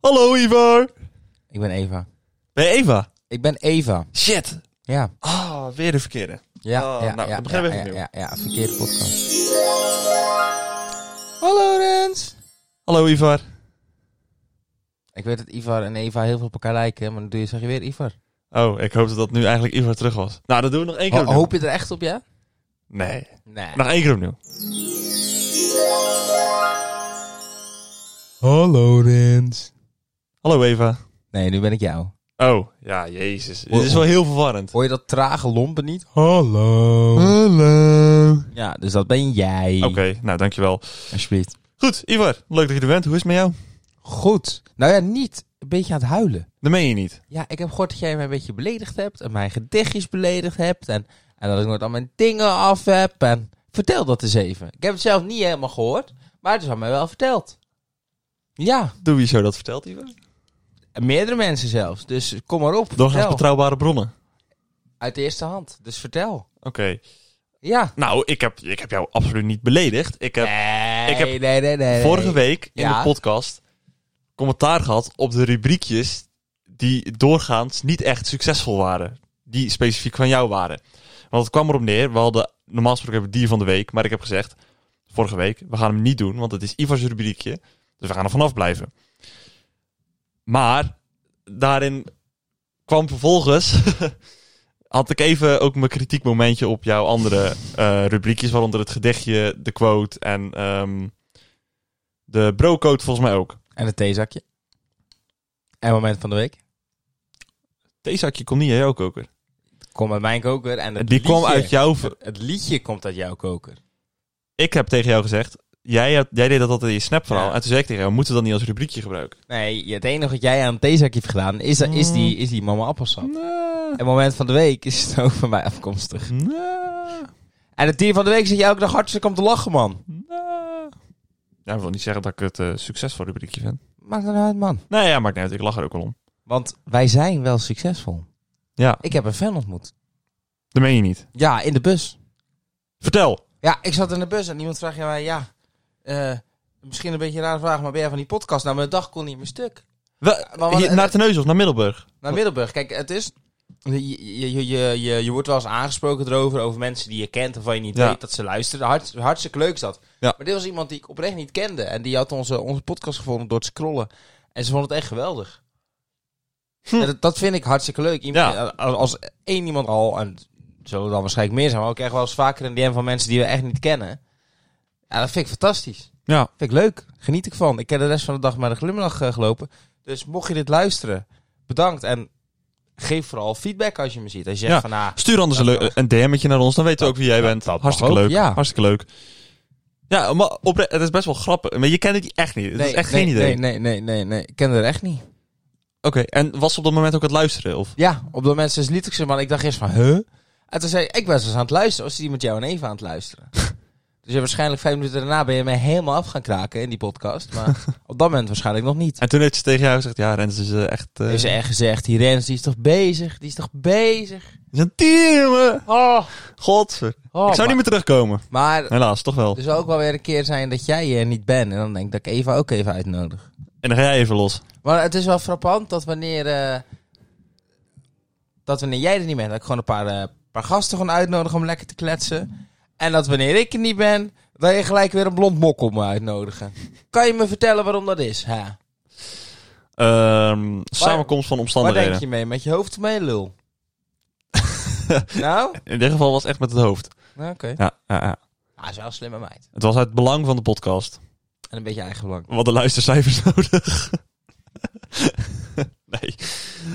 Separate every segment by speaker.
Speaker 1: Hallo Ivar.
Speaker 2: Ik ben Eva.
Speaker 1: Nee, Eva.
Speaker 2: Ik ben Eva.
Speaker 1: Shit.
Speaker 2: Ja.
Speaker 1: Ah, weer de verkeerde.
Speaker 2: Ja,
Speaker 1: Oh,
Speaker 2: ja,
Speaker 1: nou,
Speaker 2: ja,
Speaker 1: dan beginnen we
Speaker 2: ja,
Speaker 1: even
Speaker 2: ja, ja, ja, verkeerde podcast. Hallo Rens.
Speaker 1: Hallo Ivar.
Speaker 2: Ik weet dat Ivar en Eva heel veel op elkaar lijken, maar dan doe je, zeg je weer Ivar.
Speaker 1: Oh, ik hoopte dat nu eigenlijk Ivar terug was. Nou, dat doen we nog één keer
Speaker 2: Ho-
Speaker 1: opnieuw.
Speaker 2: hoop je er echt op, ja?
Speaker 1: Nee.
Speaker 2: Nee.
Speaker 1: Nog één keer opnieuw.
Speaker 2: Hallo Rens.
Speaker 1: Hallo Eva.
Speaker 2: Nee, nu ben ik jou.
Speaker 1: Oh, ja, jezus. Dit
Speaker 2: Ho-
Speaker 1: is wel heel verwarrend.
Speaker 2: Hoor je dat trage lompen niet? Hallo.
Speaker 1: Hallo.
Speaker 2: Ja, dus dat ben jij.
Speaker 1: Oké, nou dankjewel.
Speaker 2: Alsjeblieft.
Speaker 1: Goed, Ivar. Leuk dat je er bent. Hoe is het met jou?
Speaker 2: Goed. Nou ja, niet. Een beetje aan het huilen.
Speaker 1: Dat meen je niet.
Speaker 2: Ja, ik heb gehoord dat jij mij een beetje beledigd hebt. En mijn gedichtjes beledigd hebt. En, en dat ik nooit al mijn dingen af heb. En vertel dat eens even. Ik heb het zelf niet helemaal gehoord. Maar het is aan mij wel verteld. Ja,
Speaker 1: Doe je zo dat vertelt, Ivar?
Speaker 2: en meerdere mensen zelfs. Dus kom maar op.
Speaker 1: Doorgaans
Speaker 2: vertel.
Speaker 1: betrouwbare bronnen.
Speaker 2: Uit de eerste hand. Dus vertel.
Speaker 1: Oké.
Speaker 2: Ja.
Speaker 1: Nou, ik heb, ik heb jou absoluut niet beledigd. Ik eh, heb
Speaker 2: Nee,
Speaker 1: ik heb
Speaker 2: nee, nee, nee, nee.
Speaker 1: vorige week in
Speaker 2: Ja.
Speaker 1: de podcast commentaar gehad op de rubriekjes die doorgaans niet echt succesvol waren. Die specifiek van jou waren. Want het kwam erop neer, we hadden normaal gesproken hebben we dier van de week, maar ik heb gezegd, vorige week, we gaan hem niet doen, want het is Ivar's rubriekje, dus we gaan er vanaf blijven. Maar daarin kwam vervolgens, had ik even ook mijn kritiekmomentje op jouw andere eh, rubriekjes, waaronder het gedichtje, de quote en ehm, de brocode volgens mij ook.
Speaker 2: En het theezakje. En moment van de week.
Speaker 1: Theezakje kon niet uit jouw koker.
Speaker 2: Kom uit mijn koker. En het
Speaker 1: Die
Speaker 2: liedje.
Speaker 1: kwam uit jouw... ver-
Speaker 2: Het liedje komt uit jouw koker.
Speaker 1: Ik heb tegen jou gezegd, jij, hebt- jij deed dat altijd in je snap verhaal.
Speaker 2: Ja.
Speaker 1: En toen zei ik tegen jou, moeten we dat niet als rubriekje gebruiken?
Speaker 2: Nee, het enige wat jij aan een theezakje hebt gedaan is, is, die, is die mama appelsap.
Speaker 1: Nee.
Speaker 2: En moment van de week is het ook van mij afkomstig. En het dier van de week zit je elke dag hartstikke om te lachen, man.
Speaker 1: Ja, dat wil niet zeggen dat ik het eh, succesvol rubriekje vind.
Speaker 2: Maakt dan uit, man.
Speaker 1: Nee, ja, maakt niet uit. Ik lach er ook al om.
Speaker 2: Want wij zijn wel succesvol.
Speaker 1: Ja,
Speaker 2: Ik heb een fan ontmoet.
Speaker 1: dat meen je niet.
Speaker 2: Ja, in de bus.
Speaker 1: Vertel.
Speaker 2: Ja, ik zat in de bus en iemand vraagt mij, ja, eh, misschien een beetje een rare vraag, maar ben jij van die podcast? Nou, mijn dag kon niet meer stuk.
Speaker 1: We,
Speaker 2: Maar wat-
Speaker 1: hier, naar Terneuzen of naar Middelburg?
Speaker 2: Naar Middelburg. Kijk, het is. Je, je, je, je, je, je wordt wel eens aangesproken erover, over mensen die je kent, waarvan je niet
Speaker 1: Ja.
Speaker 2: weet dat ze luisteren. Hart, hartstikke leuk is dat.
Speaker 1: Ja.
Speaker 2: Maar dit was iemand die ik oprecht niet kende. En die had onze, onze podcast gevonden door te scrollen. En ze vond het echt geweldig.
Speaker 1: Hm.
Speaker 2: En dat, dat vind ik hartstikke leuk. Iemand,
Speaker 1: Ja.
Speaker 2: als, als één iemand al, en het zullen er dan waarschijnlijk meer zijn, maar ook echt wel eens vaker een DM van mensen die we echt niet kennen. Ja, dat vind ik fantastisch.
Speaker 1: Ja.
Speaker 2: Vind ik leuk. Geniet ik van. Ik heb de rest van de dag met een glimlach eh, gelopen. Dus mocht je dit luisteren, bedankt. En geef vooral feedback als je me ziet. Als je
Speaker 1: Ja.
Speaker 2: zegt van, ah,
Speaker 1: Stuur anders een, leu- een DM'tje naar ons, dan weten we ook wie jij
Speaker 2: dat-
Speaker 1: bent.
Speaker 2: dat mag
Speaker 1: Hartstikke
Speaker 2: ook,
Speaker 1: leuk.
Speaker 2: ja.
Speaker 1: Hartstikke leuk. Ja, maar opre- het is best wel grappig. Maar je kent het echt niet. Het
Speaker 2: nee,
Speaker 1: is echt
Speaker 2: nee,
Speaker 1: geen idee.
Speaker 2: Nee, nee, nee, nee, nee. Ik ken er echt niet.
Speaker 1: Oké, en was ze op dat moment ook aan het luisteren? Of?
Speaker 2: Ja, op dat moment dus liet ik ze, maar ik dacht eerst van, huh? En toen zei ik, ik ben eens aan het luisteren. Als die met jou en Eva aan het luisteren. dus je waarschijnlijk vijf minuten daarna ben je mij helemaal af gaan kraken in die podcast. Maar op dat moment waarschijnlijk nog niet.
Speaker 1: En toen heeft ze tegen jou gezegd, ja Rens is eh, echt... eh,
Speaker 2: Heeft ze echt gezegd, die Rens, die is toch bezig? Die is toch bezig?
Speaker 1: is een team!
Speaker 2: Oh,
Speaker 1: Godver.
Speaker 2: oh, Dus-
Speaker 1: ik zou niet meer terugkomen.
Speaker 2: maar, maar
Speaker 1: Helaas, toch wel.
Speaker 2: Er zal ook wel weer een keer zijn dat jij er niet bent. En dan denk ik dat ik Eva ook even uitnodig.
Speaker 1: En dan ga jij even los.
Speaker 2: Maar het is wel frappant dat wanneer, eh, dat wanneer jij er niet bent, dat ik gewoon een paar, eh, paar gasten gewoon uitnodig om lekker te kletsen. En dat wanneer ik er niet ben, dat je gelijk weer een blond mok om me uitnodigen. Kan je me vertellen waarom dat is? Ha?
Speaker 1: Ehm, samenkomst van
Speaker 2: Waar
Speaker 1: omstandigheden.
Speaker 2: denk je mee? Met je hoofd of met je lul? nou?
Speaker 1: In dit geval was het echt met het hoofd.
Speaker 2: Nou, Oké.
Speaker 1: Ja, ja, ja.
Speaker 2: Ah, is wel een slimme meid.
Speaker 1: Het was uit het belang van de podcast.
Speaker 2: En een beetje eigenbelang.
Speaker 1: Wat de luistercijfers nodig. nee,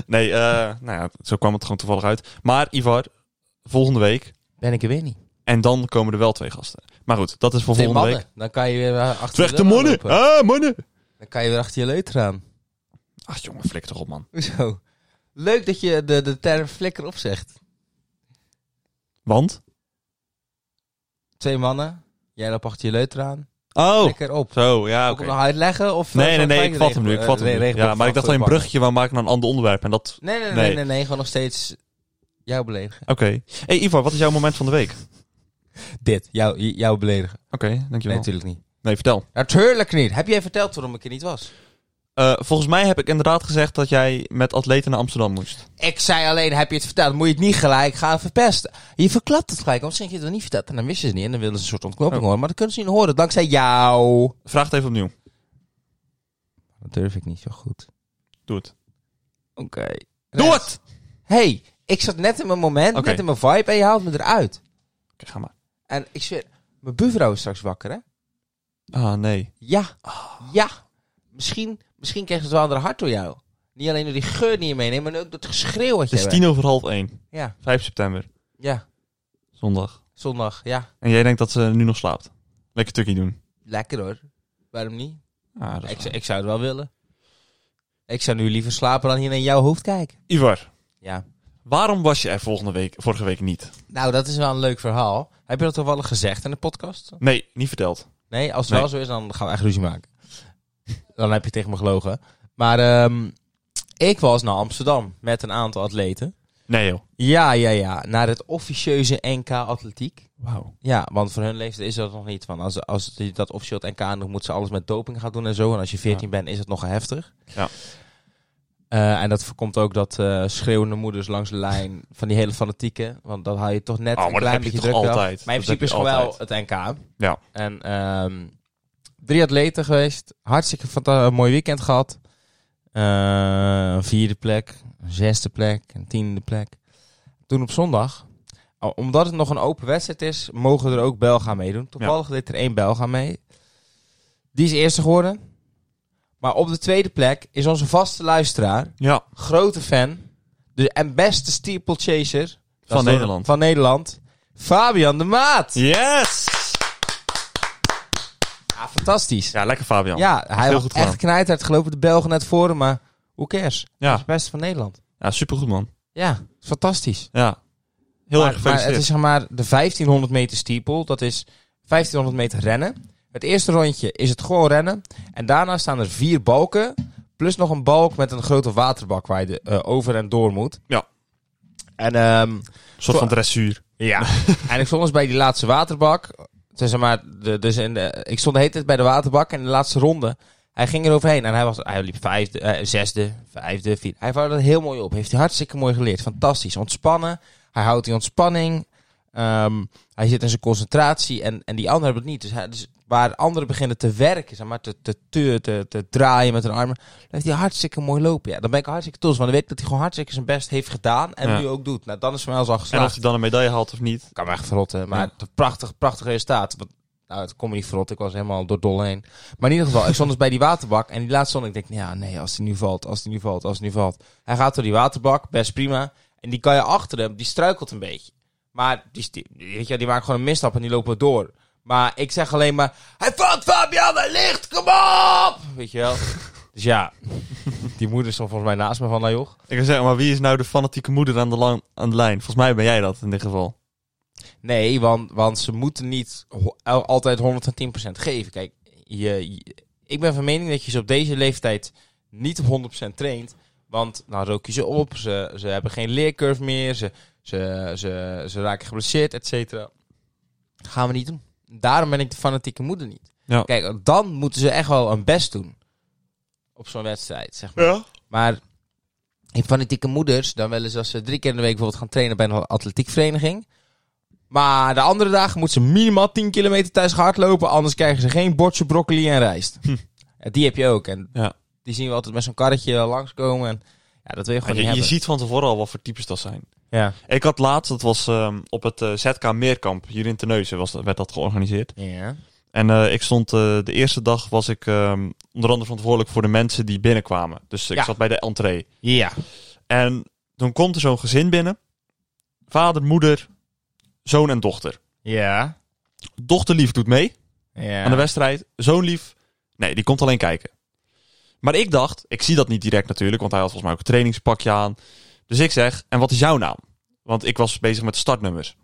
Speaker 1: nee eh, nou ja, zo kwam het gewoon toevallig uit. Maar Ivar, volgende week.
Speaker 2: Ben ik er weer niet.
Speaker 1: En dan komen er wel twee gasten. Maar goed, dat is voor
Speaker 2: Twee
Speaker 1: volgende
Speaker 2: mannen.
Speaker 1: week.
Speaker 2: Dan kan je weer eh, achter
Speaker 1: Vecht de
Speaker 2: lul
Speaker 1: mannen!
Speaker 2: aanlopen.
Speaker 1: Ah, mannen!
Speaker 2: Dan kan je weer achter je leuter aan.
Speaker 1: Ach jongen, flik toch op man.
Speaker 2: Hoezo? Leuk dat je de, de term flikker opzegt.
Speaker 1: Want?
Speaker 2: Twee mannen, jij loopt achter je leuter aan.
Speaker 1: Oh,
Speaker 2: Flikker op.
Speaker 1: zo, ja
Speaker 2: Ook
Speaker 1: oké.
Speaker 2: nog uitleggen? Of, eh,
Speaker 1: Nee, nee, nee, ik vat hem nu, ik vat hem nu. Ja, maar ik dacht alleen een
Speaker 2: brug.
Speaker 1: bruggetje, waar maak ik nou een ander onderwerp? En dat,
Speaker 2: Nee nee nee,
Speaker 1: Nee.
Speaker 2: nee, nee, nee, gewoon nog steeds jou beledigen.
Speaker 1: oké. hey, Ivar, wat is jouw moment van de week?
Speaker 2: Dit, jou, j- jou beledigen.
Speaker 1: Oké, dankjewel.
Speaker 2: Nee,
Speaker 1: Nee,
Speaker 2: natuurlijk niet.
Speaker 1: vertel.
Speaker 2: Natuurlijk niet. Heb jij verteld waarom ik er niet was?
Speaker 1: Eh, volgens mij heb ik inderdaad gezegd dat jij met atleten naar Amsterdam moest.
Speaker 2: Ik zei alleen, heb je het verteld? Moet je het niet gelijk gaan verpesten. Je verklapt het gelijk. Anders zeg je het wel niet verteld. En dan wisten ze het niet. En dan willen ze een soort ontknoping
Speaker 1: Oh.
Speaker 2: horen. Maar dan kunnen ze niet horen. Dankzij jou.
Speaker 1: Vraag het even opnieuw.
Speaker 2: Dat durf ik niet zo goed.
Speaker 1: Doe het.
Speaker 2: Oké.
Speaker 1: Doe het!
Speaker 2: hey, ik zat net in mijn moment.
Speaker 1: Oké.
Speaker 2: Net in mijn vibe. En je haalt me eruit.
Speaker 1: Oké, ga maar.
Speaker 2: En ik zweer, mijn buurvrouw is straks wakker, hè?
Speaker 1: Ah, nee.
Speaker 2: Ja.
Speaker 1: Oh.
Speaker 2: Ja. Misschien, misschien krijgen ze het wel een hart door jou. Niet alleen door die geur die je meeneemt, maar ook door het geschreeuw wat
Speaker 1: Het
Speaker 2: je
Speaker 1: is
Speaker 2: hebt.
Speaker 1: tien over half één.
Speaker 2: Ja.
Speaker 1: 5 september.
Speaker 2: Ja.
Speaker 1: Zondag.
Speaker 2: Zondag. Ja.
Speaker 1: En jij denkt dat ze nu nog slaapt. Lekker tukkie doen.
Speaker 2: Lekker hoor. Waarom niet?
Speaker 1: Ah, dat is
Speaker 2: Ik,
Speaker 1: waar.
Speaker 2: zou- ik zou het wel willen. Ik zou nu liever slapen dan hier naar jouw hoofd kijken.
Speaker 1: Ivar,
Speaker 2: Ja.
Speaker 1: waarom was je er volgende week, vorige week niet?
Speaker 2: Nou, dat is wel een leuk verhaal. Heb je dat toevallig gezegd in de podcast?
Speaker 1: Nee, niet verteld.
Speaker 2: Nee, als het
Speaker 1: Nee.
Speaker 2: wel zo is, dan gaan we echt ruzie maken. dan heb je tegen me gelogen. Maar ehm, ik was naar Amsterdam met een aantal atleten.
Speaker 1: Nee joh.
Speaker 2: Ja, ja, ja. Naar het officieuze NK Atletiek.
Speaker 1: Wauw.
Speaker 2: Ja, want voor hun leeftijd is dat nog niet. Want als, als die dat officieel het NK doet, moeten ze alles met doping gaan doen en zo. En als je 14
Speaker 1: Ja.
Speaker 2: bent, is het nog heftig.
Speaker 1: Ja.
Speaker 2: Eh, en dat voorkomt ook dat eh, schreeuwende moeders langs de lijn van die hele fanatieken. Want dan hou je toch net
Speaker 1: Oh,
Speaker 2: een
Speaker 1: maar dat
Speaker 2: klein
Speaker 1: heb je
Speaker 2: beetje
Speaker 1: toch
Speaker 2: druk eraf.
Speaker 1: altijd?
Speaker 2: Maar in
Speaker 1: Dat heb
Speaker 2: principe is
Speaker 1: je
Speaker 2: gewoon wel
Speaker 1: altijd.
Speaker 2: het NK.
Speaker 1: Ja.
Speaker 2: En ehm, drie atleten geweest. Hartstikke fanta- een mooi weekend gehad. Eh, een vierde plek, een zesde plek, een tiende plek. Toen op zondag, o- Oh, omdat het nog een open wedstrijd is, mogen er ook Belga meedoen. Toevallig deed er één Belga mee. Die is eerste geworden. Maar op de tweede plek is onze vaste luisteraar,
Speaker 1: Ja.
Speaker 2: grote fan, de, en beste steeplechaser dat is door-
Speaker 1: Nederland.
Speaker 2: van Nederland, Fabian de Maat.
Speaker 1: Yes!
Speaker 2: Ja, fantastisch.
Speaker 1: Ja, lekker Fabian.
Speaker 2: Ja, hij
Speaker 1: heel
Speaker 2: was
Speaker 1: goed
Speaker 2: echt
Speaker 1: gedaan.
Speaker 2: knijthard gelopen. De Belgen net voor hem, maar hoe cares? Hij is
Speaker 1: Ja,
Speaker 2: het beste van Nederland.
Speaker 1: ja supergoed man.
Speaker 2: Ja, fantastisch.
Speaker 1: Ja. Heel erg
Speaker 2: maar, maar
Speaker 1: gefeliciteerd.
Speaker 2: het is zeg maar de 1500 meter steeple. Dat is 1500 meter rennen. Het eerste rondje is het gewoon rennen. En daarna staan er vier balken. Plus nog een balk met een grote waterbak waar je de, eh, over en door moet.
Speaker 1: Ja.
Speaker 2: En ehm,
Speaker 1: Een soort van dressuur.
Speaker 2: ja. en ik stond dus bij die laatste waterbak. Het is zeg maar, de, dus in de, ik stond de hele tijd bij de waterbak en in de laatste ronde. Hij ging er overheen en hij, was, hij liep vijfde, eh, zesde, vijfde, vierde. Hij vouwde dat heel mooi op. Heeft hij hartstikke mooi geleerd. Fantastisch. Ontspannen. Hij houdt die ontspanning. Ehm, hij zit in zijn concentratie en, en die anderen hebben het niet. Dus, hij, dus waar anderen beginnen te werken, zeg maar, te, te, te, te, te draaien met hun armen, dan heeft hij hartstikke mooi lopen. Ja, dan ben ik hartstikke trots, want dan weet ik dat hij gewoon hartstikke zijn best heeft gedaan en
Speaker 1: Ja.
Speaker 2: nu ook doet. Nou, dan is voor mij al geslaagd.
Speaker 1: En of hij dan een medaille haalt of niet.
Speaker 2: Ik kan me echt verrotten. Maar
Speaker 1: Ja.
Speaker 2: het prachtig, prachtig resultaat. Want, nou, het kon me niet verrotten. Ik was helemaal door dol heen. Maar in ieder geval, ik stond dus bij die waterbak. En die laatste stond ik denk, nou ja, nee, als die nu valt, als die nu valt, als die nu valt. Hij gaat door die waterbak, best prima. En die kan je achter hem, die struikelt een beetje. Maar die, die, weet je, die maakt gewoon een misstap en die loopt maar door. Maar ik zeg alleen maar, hij valt Fabian, hij ligt, kom op! Weet je wel. dus ja, die moeder stond volgens mij naast me van, nou joh.
Speaker 1: Ik wil zeggen, maar wie is nou de fanatieke moeder aan de, lang- aan de lijn? Volgens mij ben jij dat in dit geval.
Speaker 2: Nee, want, want ze moeten niet ho- al- altijd 110% geven. Kijk, je, je- ik ben van mening dat je ze op deze leeftijd niet op 100% traint. Want nou rook je ze op, ze, ze hebben geen leercurve meer, ze, ze, ze, ze raken geblesseerd, et cetera. Gaan we niet doen. Daarom ben ik de fanatieke moeder niet.
Speaker 1: Ja.
Speaker 2: Kijk, dan moeten ze echt wel hun best doen op zo'n wedstrijd, zeg maar.
Speaker 1: Ja.
Speaker 2: Maar in fanatieke moeders, dan willen ze als ze drie keer in de week bijvoorbeeld gaan trainen bij een atletiekvereniging. Maar de andere dagen moeten ze minimaal 10 kilometer thuis gaan hardlopen, anders krijgen ze geen bordje broccoli en rijst. En Die heb je ook. En
Speaker 1: Hm. Ja.
Speaker 2: die zien we altijd met zo'n karretje langskomen. En ja, dat wil je gewoon
Speaker 1: Je,
Speaker 2: niet
Speaker 1: je
Speaker 2: hebben.
Speaker 1: ziet van tevoren al wat voor types dat zijn.
Speaker 2: Ja.
Speaker 1: Ik had laatst, dat was ehm, op het eh, ZK Meerkamp, hier in Terneuzen was, werd dat georganiseerd.
Speaker 2: Ja.
Speaker 1: En eh, ik stond, eh, de eerste dag was ik ehm, onder andere verantwoordelijk voor de mensen die binnenkwamen. Dus ik
Speaker 2: Ja.
Speaker 1: zat bij de entree.
Speaker 2: Ja.
Speaker 1: En toen komt er zo'n gezin binnen. Vader, moeder, zoon en dochter.
Speaker 2: Ja.
Speaker 1: Dochterlief doet mee
Speaker 2: Ja.
Speaker 1: aan de wedstrijd. Zoon lief, nee, die komt alleen kijken. Maar ik dacht, ik zie dat niet direct natuurlijk, want hij had volgens mij ook een trainingspakje aan. Dus ik zeg, en wat is jouw naam? Want ik was bezig met de startnummers.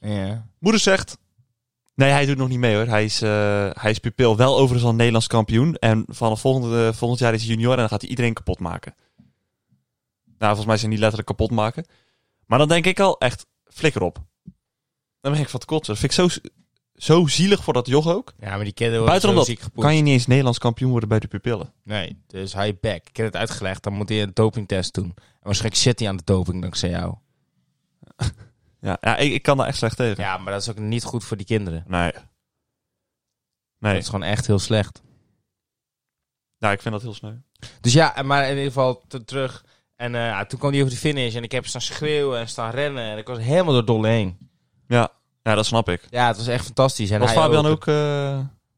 Speaker 2: Ja.
Speaker 1: Moeder zegt. Nee, hij doet nog niet mee hoor. Hij is, eh, hij is pupil wel overigens al Nederlands kampioen. En vanaf volgende, eh, volgend jaar is hij junior en dan gaat hij iedereen kapot maken. Nou, volgens mij zijn die letterlijk kapot maken. Maar dan denk ik al echt, flikker op. Dan ben ik van het kotsen. Dat vind ik zo s- zo zielig voor dat joch ook.
Speaker 2: Ja, maar die kinderen worden
Speaker 1: Buiten
Speaker 2: zo
Speaker 1: omdat
Speaker 2: ziek gepoetst.
Speaker 1: kan je niet eens Nederlands kampioen worden bij de pupillen.
Speaker 2: Nee, dus hij back. Ik heb het uitgelegd, dan moet hij een dopingtest doen. En waarschijnlijk zit hij aan de doping dankzij jou.
Speaker 1: Ja, ja ik, ik kan daar echt slecht tegen.
Speaker 2: Ja, maar dat is ook niet goed voor die kinderen.
Speaker 1: Nee.
Speaker 2: Dat
Speaker 1: Nee,
Speaker 2: is gewoon echt heel slecht.
Speaker 1: ja, ik vind dat heel sneu.
Speaker 2: Dus ja, en maar in ieder geval te- terug. En eh, ja, toen kwam hij over de finish en ik heb staan schreeuwen en staan rennen. En ik was helemaal door dolle heen.
Speaker 1: Ja, ja dat snap ik.
Speaker 2: Ja, het was echt fantastisch. En
Speaker 1: Was
Speaker 2: hij
Speaker 1: Fabian ook... eh,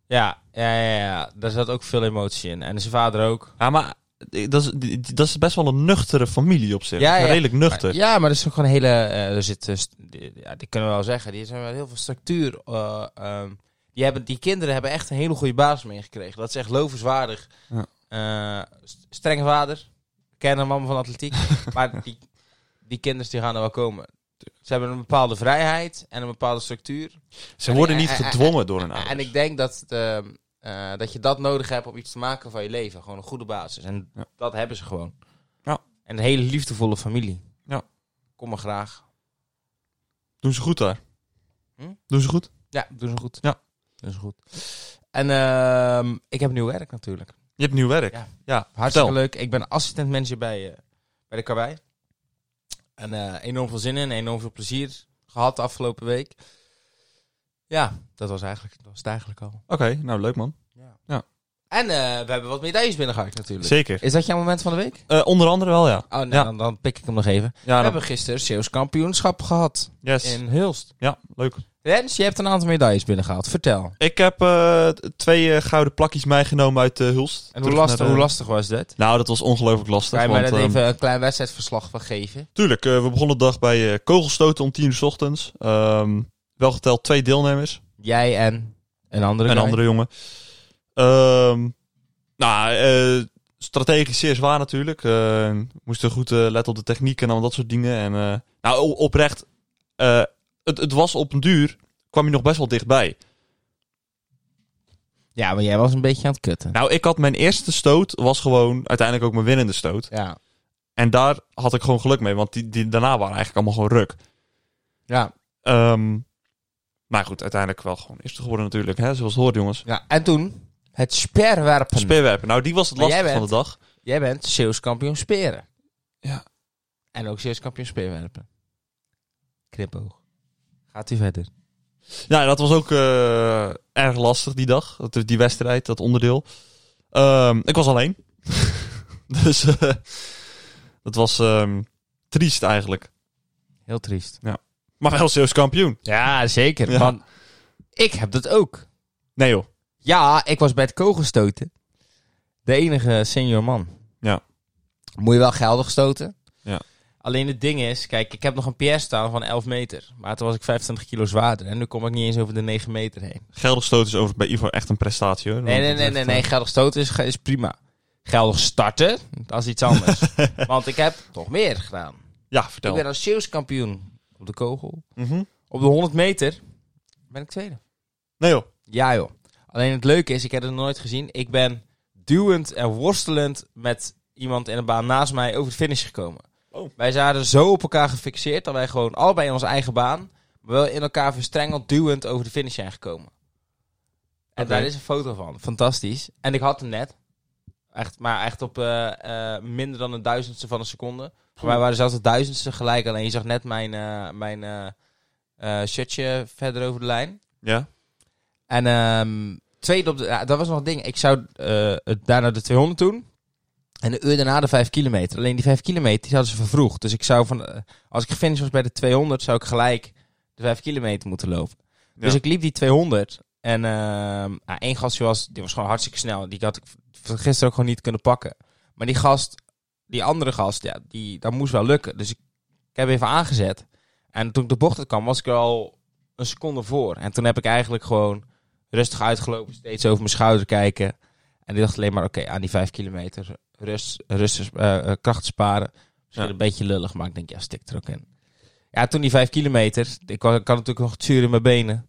Speaker 2: Ja, ja, ja, ja, daar zat ook veel emotie in. En zijn vader ook.
Speaker 1: Ja, maar eh, dat is, die- die- dat is best wel een nuchtere familie op zich.
Speaker 2: Ja, ja.
Speaker 1: Redelijk nuchter.
Speaker 2: Maar- ja, maar dat is ook gewoon een hele. eh, er zit, eh, st- die- ja, die kunnen we wel zeggen. Die zijn wel heel veel structuur. eh, ehm, die, hebben, die kinderen hebben echt een hele goede basis meegekregen. Dat is echt lovenswaardig.
Speaker 1: Ja.
Speaker 2: Eh, st- strenge vader. Kennen mama van atletiek. maar die, die kinderen die gaan er wel komen. Ze hebben een bepaalde vrijheid en een bepaalde structuur.
Speaker 1: Ze worden niet
Speaker 2: En- en- en-
Speaker 1: gedwongen door hun ouders.
Speaker 2: En ik denk dat, de, eh, dat je dat nodig hebt om iets te maken van je leven. Gewoon een goede basis. En
Speaker 1: Ja.
Speaker 2: dat hebben ze gewoon.
Speaker 1: Ja.
Speaker 2: En een hele liefdevolle familie.
Speaker 1: Ja.
Speaker 2: Kom maar graag.
Speaker 1: Doen ze goed daar.
Speaker 2: Hm?
Speaker 1: Doen ze goed.
Speaker 2: Ja, doen ze goed.
Speaker 1: Ja.
Speaker 2: Doen ze goed. En ehm, ik heb nieuw werk natuurlijk.
Speaker 1: Je hebt nieuw werk.
Speaker 2: Ja.
Speaker 1: Ja,
Speaker 2: Hartstikke
Speaker 1: vertel.
Speaker 2: leuk. Ik ben assistent manager bij, eh, bij de Karwei. En eh, enorm veel zin in. Enorm veel plezier gehad de afgelopen week. Ja, dat was, eigenlijk, dat was het eigenlijk al.
Speaker 1: Oké, nou leuk man.
Speaker 2: Ja.
Speaker 1: Ja.
Speaker 2: En eh, we hebben wat medailles binnengehaald natuurlijk.
Speaker 1: Zeker.
Speaker 2: Is dat jouw moment van de week?
Speaker 1: Eh, onder andere wel, ja.
Speaker 2: Oh, nee,
Speaker 1: Ja.
Speaker 2: dan, dan pik ik hem nog even.
Speaker 1: Ja,
Speaker 2: We
Speaker 1: dan-
Speaker 2: hebben gisteren Zeeuws kampioenschap gehad
Speaker 1: yes.
Speaker 2: in Hulst.
Speaker 1: ja leuk.
Speaker 2: Rens, je hebt een aantal medailles binnengehaald. Vertel.
Speaker 1: Ik heb eh, t- twee eh, gouden plakjes meegenomen uit eh, Hulst.
Speaker 2: En hoe
Speaker 1: Terug
Speaker 2: lastig,
Speaker 1: naar de-
Speaker 2: hoe lastig was dat?
Speaker 1: Nou, dat was ongelooflijk lastig.
Speaker 2: Kan je mij
Speaker 1: want,
Speaker 2: daar
Speaker 1: ehm,
Speaker 2: even een klein wedstrijdverslag van geven?
Speaker 1: Tuurlijk, eh, we begonnen de dag bij eh, kogelstoten om tien uur 's ochtends. Ehm, wel geteld twee deelnemers.
Speaker 2: Jij en een andere
Speaker 1: Een
Speaker 2: guy.
Speaker 1: andere jongen. Ehm, nou, eh, strategisch zeer zwaar natuurlijk. Eh, moesten goed eh, letten op de techniek en al dat soort dingen. En, eh, nou, o- oprecht, eh, het, het was op een duur, kwam je nog best wel dichtbij.
Speaker 2: Ja, maar jij was een beetje aan het kutten.
Speaker 1: Nou, ik had mijn eerste stoot, was gewoon uiteindelijk ook mijn winnende stoot.
Speaker 2: Ja.
Speaker 1: En daar had ik gewoon geluk mee, want die, die daarna waren eigenlijk allemaal gewoon ruk.
Speaker 2: Ja.
Speaker 1: Ehm, maar goed, uiteindelijk wel gewoon eerste geworden natuurlijk, hè, zoals het hoort jongens.
Speaker 2: ja. En toen, het speerwerpen.
Speaker 1: Speerwerpen, nou die was het
Speaker 2: Maar jij
Speaker 1: lastig van de
Speaker 2: bent-
Speaker 1: dag.
Speaker 2: jij bent Zeeuws kampioen speren.
Speaker 1: Ja.
Speaker 2: En ook Zeeuws kampioen speerwerpen. Knipoog. Gaat u verder.
Speaker 1: Ja, Nou, dat was ook eh, erg lastig die dag. Dat- Die wedstrijd, dat onderdeel. Ehm, ik was alleen. dus eh, dat was ehm, triest eigenlijk.
Speaker 2: Heel triest.
Speaker 1: Maar wel Zeeuws kampioen.
Speaker 2: Ja, zeker.
Speaker 1: Ja.
Speaker 2: Want ik heb dat ook.
Speaker 1: Nee joh.
Speaker 2: Ja, ik was bij het kogelstoten. De enige senior man.
Speaker 1: Ja.
Speaker 2: Moet je wel geldig stoten.
Speaker 1: Ja.
Speaker 2: Alleen het ding is, kijk, ik heb nog een PR staan van 11 meter. Maar toen was ik 25 kilo zwaarder. En nu kom ik niet eens over de 9 meter heen.
Speaker 1: Geldig stoot is over bij Ivo echt een prestatie hoor.
Speaker 2: Nee,
Speaker 1: Want
Speaker 2: nee,
Speaker 1: het
Speaker 2: nee,
Speaker 1: Oh, is
Speaker 2: nee,
Speaker 1: echt,
Speaker 2: nee. Geldig stoten is, is prima. Geldig starten, dat is iets anders. Want ik heb toch meer gedaan.
Speaker 1: eh, Ja,
Speaker 2: Ik
Speaker 1: vertel.
Speaker 2: ben als zeeuwskampioen op de kogel.
Speaker 1: Mhm.
Speaker 2: Op de 100 meter ben ik tweede.
Speaker 1: Nee joh.
Speaker 2: Ja joh. Alleen het leuke is, ik heb het nog nooit gezien. Ik ben duwend en worstelend met iemand in de baan naast mij over de finish gekomen.
Speaker 1: Oh.
Speaker 2: Wij zaten zo op elkaar gefixeerd dat wij gewoon allebei in onze eigen baan, maar wel in elkaar verstrengeld duwend over de finish zijn gekomen. En
Speaker 1: Oké.
Speaker 2: daar is een foto van. Fantastisch. En ik had hem net. Echt, maar echt op eh, eh, minder dan een duizendste van een seconde. Voor mij waren zelfs de duizendste gelijk. Alleen je zag net mijn, eh, mijn eh, eh, shirtje verder over de lijn.
Speaker 1: Ja.
Speaker 2: En ehm, tweede op de... ja, dat was nog een ding. Ik zou eh, het daarna de 200 doen. En een uur daarna de 5 kilometer. Alleen die 5 kilometer die hadden ze vervroegd. Dus ik zou van... eh, als ik gefinished was bij de 200, zou ik gelijk de 5 kilometer moeten lopen. Dus
Speaker 1: Ja.
Speaker 2: ik liep die 200. En ehm ja, één gastje was... Die was gewoon hartstikke snel. Die had ik v- gisteren ook gewoon niet kunnen pakken. Maar die gast... Die andere gast, ja, die, dat moest wel lukken. Dus ik, ik heb even aangezet. En toen ik de bocht uit kwam, was ik er al een seconde voor. En toen heb ik eigenlijk gewoon rustig uitgelopen, steeds over mijn schouder kijken. En die dacht alleen maar, oké, aan die vijf kilometer rust, rust eh, eh, kracht sparen. Misschien
Speaker 1: Ja.
Speaker 2: een beetje lullig, maar ik denk, ja, stik er ook in. Ja, toen die vijf kilometer, ik kan natuurlijk nog het zuur in mijn benen.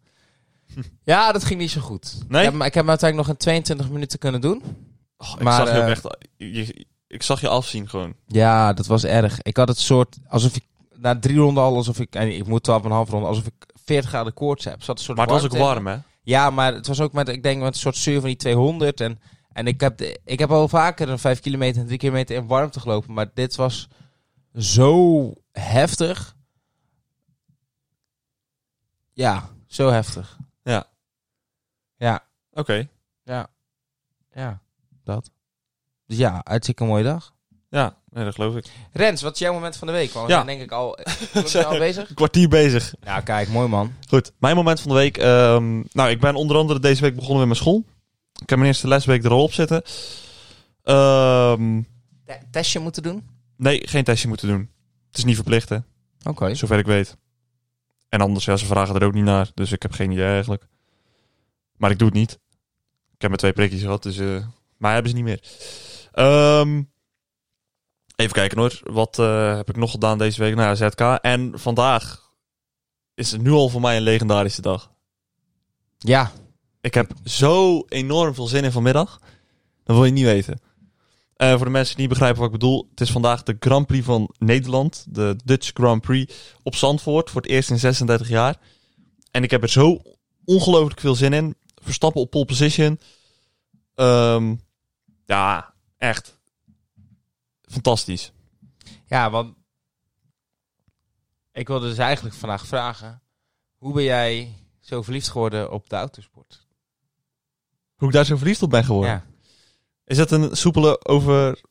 Speaker 2: Ja, dat ging niet zo goed.
Speaker 1: Nee?
Speaker 2: Ik heb, hem- ik heb hem uiteindelijk nog in 22 minuten kunnen doen.
Speaker 1: Oh, ik,
Speaker 2: Maar,
Speaker 1: zag je ook
Speaker 2: eh,
Speaker 1: echt, je- ik zag je afzien gewoon.
Speaker 2: Ja, dat was erg. Ik had het soort alsof ik na drie ronden al alsof ik en ik moet 12,5 ronden alsof ik 40 graden koorts heb. Er Zat een soort
Speaker 1: Maar het was ook
Speaker 2: warmte in.
Speaker 1: warm, hè?
Speaker 2: Ja, maar het was ook met, ik denk, met een soort zuur van die 200. En, en ik, heb, de- ik heb al vaker een 5 kilometer en 3 kilometer in warmte gelopen. Maar dit was zo heftig. Ja, zo heftig.
Speaker 1: Ja.
Speaker 2: Ja,
Speaker 1: Oké.
Speaker 2: ja, ja, dat. Dus ja, hartstikke mooie dag.
Speaker 1: Ja, nee, dat geloof ik.
Speaker 2: Rens, wat is jouw moment van de week? Want we
Speaker 1: Ja.
Speaker 2: zijn denk ik al, we zijn al bezig.
Speaker 1: Een kwartier bezig.
Speaker 2: Ja, kijk, mooi man.
Speaker 1: Goed, mijn moment van de week. ehm, nou, ik ben onder andere deze week begonnen met mijn school. Ik heb mijn eerste lesweek er al op zitten. Ehm,
Speaker 2: Te- Testje moeten doen?
Speaker 1: nee, geen testje moeten doen. Het is niet verplicht, hè,
Speaker 2: Oké.
Speaker 1: zover ik weet. En anders, ja, ze vragen er ook niet naar. Dus ik heb geen idee eigenlijk. Maar ik doe het niet. Ik heb mijn twee prikjes gehad, dus... eh maar hebben ze niet meer. Ehm, even kijken hoor. Wat eh, heb ik nog gedaan deze week? Nou ja, ZK. En vandaag is het nu al voor mij een legendarische dag.
Speaker 2: Ja,
Speaker 1: Ik heb zo enorm veel zin in vanmiddag. Dat wil je niet weten. Eh, voor de mensen die niet begrijpen wat ik bedoel. Het is vandaag de Grand Prix van Nederland. De Dutch Grand Prix op Zandvoort. Voor het eerst in 36 jaar. En ik heb er zo ongelooflijk veel zin in. Verstappen op pole position. Ehm, ja, echt. Fantastisch.
Speaker 2: Ja, want ik wilde dus eigenlijk vandaag vragen: hoe ben jij zo verliefd geworden op de autosport?
Speaker 1: Hoe ik daar zo verliefd op ben geworden.
Speaker 2: Ja.
Speaker 1: Is dat een soepele over...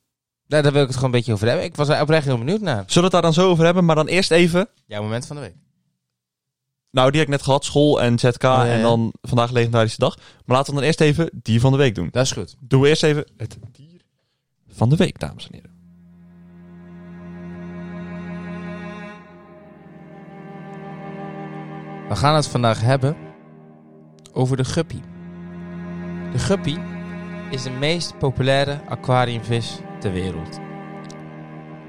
Speaker 2: Nou, daar wil ik het gewoon een beetje over hebben. Ik was er oprecht heel benieuwd naar.
Speaker 1: Zullen we het daar dan zo over hebben? Maar dan eerst even...
Speaker 2: Jouw moment van de week.
Speaker 1: Nou, die heb ik net gehad. School en ZK.
Speaker 2: Oh, ja, ja.
Speaker 1: En dan vandaag legendarische dag. Maar laten we dan eerst even die van de week doen.
Speaker 2: Dat is goed.
Speaker 1: Doen we eerst even het dier van de week, dames en heren.
Speaker 2: We gaan het vandaag hebben over de guppy. De guppy is de meest populaire aquariumvis ter wereld.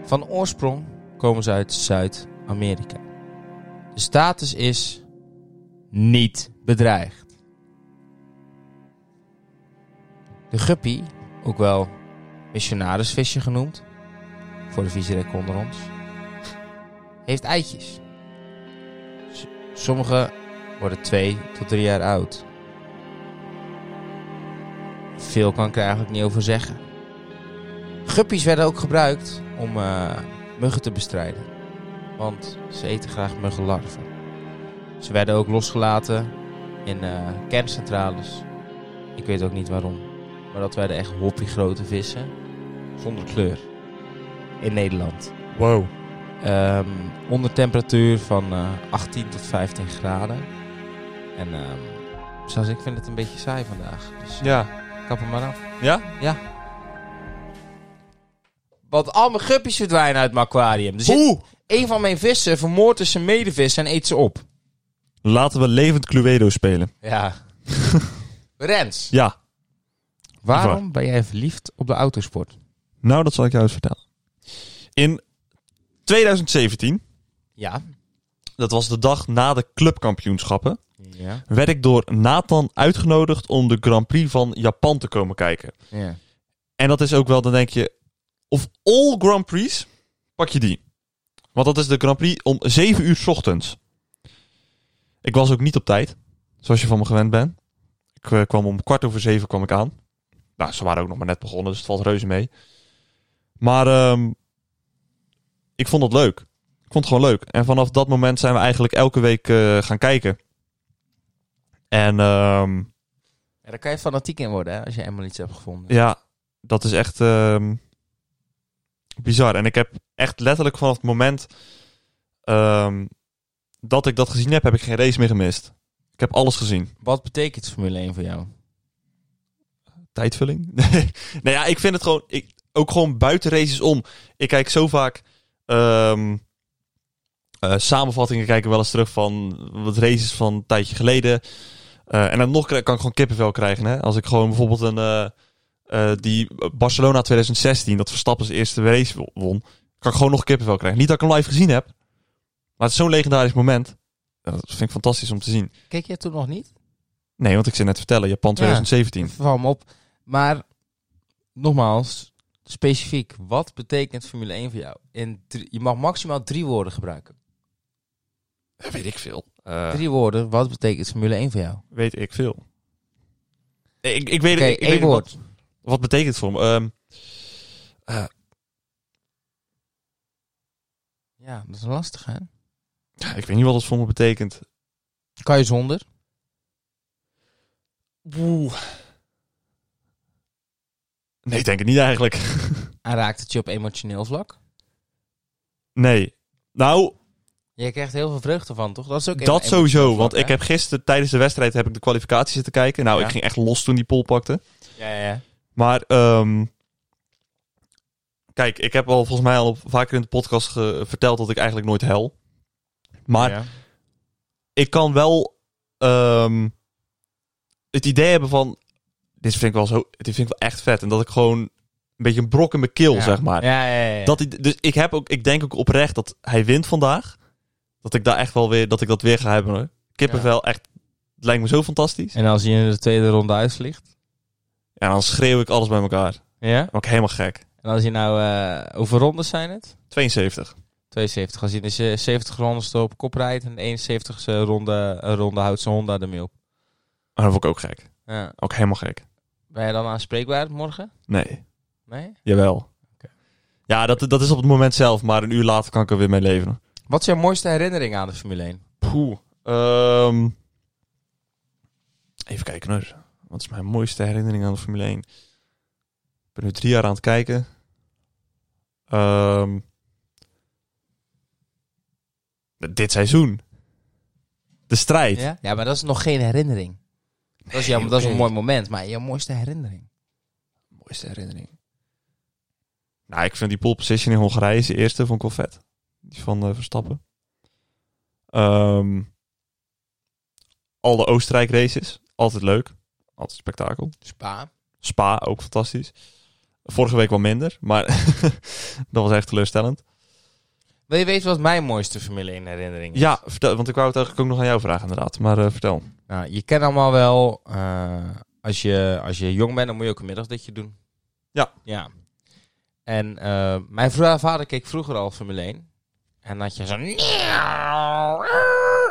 Speaker 2: Van oorsprong komen ze uit Zuid-Amerika. De status is niet bedreigd. De guppy, ook wel missionarisvisje genoemd, voor de viezerik onder ons, heeft eitjes. Sommige worden 2 tot 3 jaar oud. Veel kan ik er eigenlijk niet over zeggen. Guppies werden ook gebruikt om eh, muggen te bestrijden. Want ze eten graag muggenlarven. Ze werden ook losgelaten in eh, kerncentrales. Ik weet ook niet waarom. Maar dat werden echt hoppiegrote vissen. Zonder kleur. In Nederland.
Speaker 1: Wow.
Speaker 2: Ehm, onder temperatuur van eh, 18 tot 15 graden. En ehm, zoals ik vind het een beetje saai vandaag. Dus
Speaker 1: Ja.
Speaker 2: kap hem maar af.
Speaker 1: Ja?
Speaker 2: Want al mijn guppies verdwijnen uit mijn aquarium. Dus
Speaker 1: Oeh!
Speaker 2: een van mijn vissen vermoordt dus zijn medevis en eet ze op.
Speaker 1: Laten we levend Cluedo spelen.
Speaker 2: Ja. Rens,
Speaker 1: Ja.
Speaker 2: waarom ben jij verliefd op de autosport?
Speaker 1: Nou, dat zal ik jou eens vertellen. In 2017,
Speaker 2: Ja.
Speaker 1: dat was de dag na de clubkampioenschappen,
Speaker 2: Ja.
Speaker 1: werd ik door Nathan uitgenodigd om de Grand Prix van Japan te komen kijken.
Speaker 2: ja.
Speaker 1: En dat is ook wel, dan denk je, of all Grand Prix, pak je die. Want dat is de Grand Prix om 7 uur 's ochtends. Ik was ook niet op tijd, zoals je van me gewend bent. Ik eh, kwam om kwart over zeven kwam ik aan. Nou, ze waren ook nog maar net begonnen, dus het valt reuze mee. Maar ehm, ik vond het leuk. Ik vond het gewoon leuk. En vanaf dat moment zijn we eigenlijk elke week eh, gaan kijken. En ehm,
Speaker 2: En daar kan je fanatiek in worden, hè, als je helemaal iets hebt gevonden.
Speaker 1: ja, dat is echt ehm, bizar. En ik heb echt letterlijk vanaf het moment ehm, dat ik dat gezien heb, heb ik geen race meer gemist. Ik heb alles gezien.
Speaker 2: Wat betekent Formule 1 voor jou?
Speaker 1: Tijdvulling? Nee. nou ja, ik vind het gewoon... Ik, ook gewoon buiten races om. Ik kijk zo vaak... ehm, eh, samenvattingen kijken wel eens terug van wat races van een tijdje geleden. Eh, en dan nog kri- kan ik gewoon kippenvel krijgen. Hè? Als ik gewoon bijvoorbeeld een... eh, eh, die Barcelona 2016, dat Verstappen zijn eerste race wo- won. Kan ik gewoon nog kippenvel krijgen. Niet dat ik hem live gezien heb. Maar het is zo'n legendarisch moment. Ja, Dat vind ik fantastisch om te zien.
Speaker 2: Keek jij toen nog niet?
Speaker 1: Nee, want ik zit net te vertellen. Japan 2017.
Speaker 2: val me op. Maar nogmaals, specifiek, wat betekent Formule 1 voor jou? In drie- je mag maximaal drie woorden gebruiken.
Speaker 1: weet ik veel. Eh,
Speaker 2: Drie woorden. Wat betekent Formule 1 voor jou?
Speaker 1: weet ik veel. Nee, Ik, ik weet,
Speaker 2: Oké,
Speaker 1: ik, ik weet
Speaker 2: één
Speaker 1: niet
Speaker 2: woord.
Speaker 1: Wat, wat betekent het voor me? Ehm, eh,
Speaker 2: Ja, dat is lastig, hè?
Speaker 1: ja, ik weet niet wat het voor me betekent.
Speaker 2: Kan je zonder?
Speaker 1: Oeh. Nee, ik denk het niet eigenlijk.
Speaker 2: En raakt het je op emotioneel vlak?
Speaker 1: Nee. Nou,
Speaker 2: Jij krijgt heel veel vreugde van, toch? Dat is ook een
Speaker 1: dat
Speaker 2: emotioneel
Speaker 1: sowieso.
Speaker 2: vlak,
Speaker 1: Want
Speaker 2: hè?
Speaker 1: ik heb gisteren tijdens de wedstrijd heb ik de kwalificatie zitten kijken. Nou,
Speaker 2: Ja.
Speaker 1: ik ging echt los toen die pol pakte.
Speaker 2: Ja, ja, ja.
Speaker 1: Maar ehm, kijk, ik heb al volgens mij al op- vaker in de podcast ge- verteld dat ik eigenlijk nooit hel. Maar
Speaker 2: Ja.
Speaker 1: ik kan wel ehm, het idee hebben van dit vind ik wel zo, dit vind ik wel echt vet en dat ik gewoon een beetje een brok in mijn keel
Speaker 2: Ja.
Speaker 1: zeg maar.
Speaker 2: Ja, ja, ja. ja.
Speaker 1: Dat ik, dus ik, heb ook, ik denk ook oprecht dat hij wint vandaag. Dat ik daar echt wel weer, dat ik dat weer ga hebben. hoor. Kippenvel, echt, het lijkt me zo fantastisch.
Speaker 2: En als je in de tweede ronde uitvliegt?
Speaker 1: En dan schreeuw ik alles bij elkaar. Dan
Speaker 2: Ja.
Speaker 1: word ik helemaal gek.
Speaker 2: En als je nou... eh, hoeveel rondes zijn het?
Speaker 1: 72.
Speaker 2: 72. Als je in de ze- 70 rondes op kop rijdt... en de 71ste ronde, eh, ronde houdt zijn Honda de mil.
Speaker 1: Maar dan word ik ook gek.
Speaker 2: Ja.
Speaker 1: Ook helemaal gek.
Speaker 2: Ben je dan aanspreekbaar morgen?
Speaker 1: Nee.
Speaker 2: Nee?
Speaker 1: Jawel. Ja, dat, dat is op het moment zelf, maar een uur later kan ik er weer mee leven.
Speaker 2: Wat is jouw mooiste herinnering aan de Formule 1?
Speaker 1: Poeh. Ehm, even kijken hoor. Wat is mijn mooiste herinnering aan de Formule 1? Ik ben nu drie jaar aan het kijken. Ehm, dit seizoen. De strijd.
Speaker 2: Ja? ja, maar dat is nog geen herinnering. Dat is, ja,
Speaker 1: Nee,
Speaker 2: dat is
Speaker 1: oké.
Speaker 2: een mooi moment, maar jouw mooiste herinnering.
Speaker 1: Mooiste herinnering. Nou, ik vind die pole position in Hongarije is de eerste vond ik wel vet. Die van eh, Verstappen. Ehm, al de Oostenrijk races. Altijd leuk. Altijd spektakel.
Speaker 2: Spa.
Speaker 1: Spa ook fantastisch. Vorige week wel minder, maar dat was echt teleurstellend.
Speaker 2: Wil je weten wat mijn mooiste Formule 1 herinnering is?
Speaker 1: Ja, vertel, want ik wou het eigenlijk ook nog aan jou vragen inderdaad. Maar eh, vertel.
Speaker 2: Nou, je kent allemaal wel, eh, als, je, als je jong bent, dan moet je ook een middagdutje doen.
Speaker 1: Ja.
Speaker 2: Ja. En eh, mijn vrouw- vader keek vroeger al Formule 1. En had je zo'n...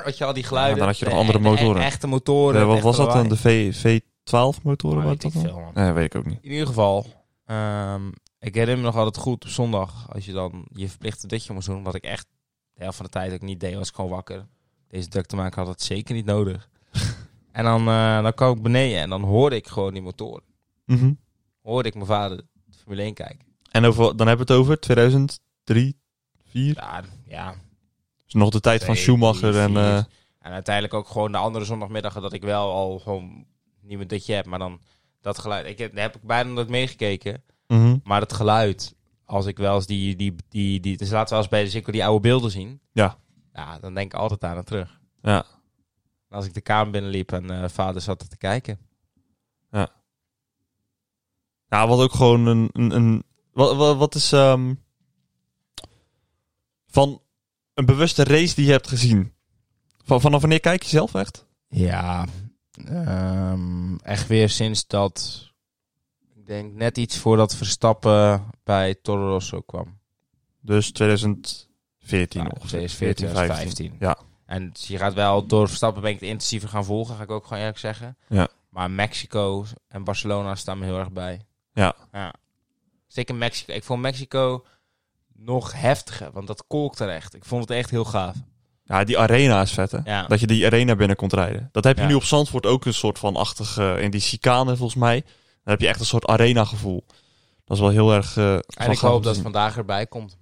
Speaker 2: Had je al die geluiden.
Speaker 1: Ja, dan had je nog
Speaker 2: De-
Speaker 1: andere
Speaker 2: de- de-
Speaker 1: motoren.
Speaker 2: Echte motoren.
Speaker 1: Eh,
Speaker 2: het
Speaker 1: wat
Speaker 2: echte
Speaker 1: was dat dan?
Speaker 2: lawaai.
Speaker 1: De v, V12 motoren?
Speaker 2: Ah,
Speaker 1: waren
Speaker 2: weet
Speaker 1: dat
Speaker 2: ik
Speaker 1: dan?
Speaker 2: veel, man.
Speaker 1: Nee, weet ik ook niet.
Speaker 2: In ieder geval, ehm, ik herinner me nog altijd goed op zondag, als je dan je verplichte dutje moest doen, wat ik echt de helft van de tijd ook niet deed, was ik gewoon wakker. Deze druk te maken had het zeker niet nodig. en dan, eh, dan kwam ik beneden en dan hoorde ik gewoon die motoren.
Speaker 1: Mhm.
Speaker 2: Hoorde ik mijn vader de Formule 1 kijken.
Speaker 1: En over, dan hebben we het over 2003, 4.
Speaker 2: Ja, ja.
Speaker 1: Dus nog de tijd van
Speaker 2: twee,
Speaker 1: Schumacher
Speaker 2: drie,
Speaker 1: en...
Speaker 2: vier.
Speaker 1: eh,
Speaker 2: En uiteindelijk ook gewoon de andere zondagmiddagen dat ik wel al gewoon niet meer dutje heb, maar dan dat geluid. Ik heb, daar heb ik bijna nooit meegekeken.
Speaker 1: mhm.
Speaker 2: Maar het geluid, als ik wel eens die, die, die, die dus laten we als bij de cirkel die oude beelden zien.
Speaker 1: Ja.
Speaker 2: Ja, dan denk ik altijd aan het terug.
Speaker 1: Ja.
Speaker 2: En Als ik de kamer binnenliep en eh, vader zat er te kijken.
Speaker 1: Nou, wat ook gewoon een... een, een wat, wat, wat is... ehm, van een bewuste race die je hebt gezien. Van, vanaf wanneer kijk je zelf echt?
Speaker 2: Ja, ehm, echt weer sinds dat, ik denk net iets voordat Verstappen bij Toro Rosso kwam.
Speaker 1: Dus 2014
Speaker 2: Nou,
Speaker 1: ongeveer.
Speaker 2: 2014, 2015.
Speaker 1: Ja.
Speaker 2: En dus je gaat wel door Verstappen ben ik het intensiever gaan volgen, ga ik ook gewoon eerlijk zeggen.
Speaker 1: Ja.
Speaker 2: Maar Mexico en Barcelona staan me heel erg bij.
Speaker 1: Ja.
Speaker 2: Zeker Mexico. Ik vond Mexico nog heftiger, want dat kolkte er echt. Ik vond het echt heel gaaf.
Speaker 1: Ja, die arena is vet, hè?
Speaker 2: Ja.
Speaker 1: Dat je die arena binnen komt rijden. Dat heb je
Speaker 2: Ja.
Speaker 1: nu op Zandvoort ook een soort van achtig... eh, in die chicane, volgens mij. Dan heb je echt een soort arena gevoel. Dat is wel heel erg... eh, van
Speaker 2: En ik
Speaker 1: gaaf om te
Speaker 2: hoop dat het
Speaker 1: zien.
Speaker 2: vandaag erbij komt.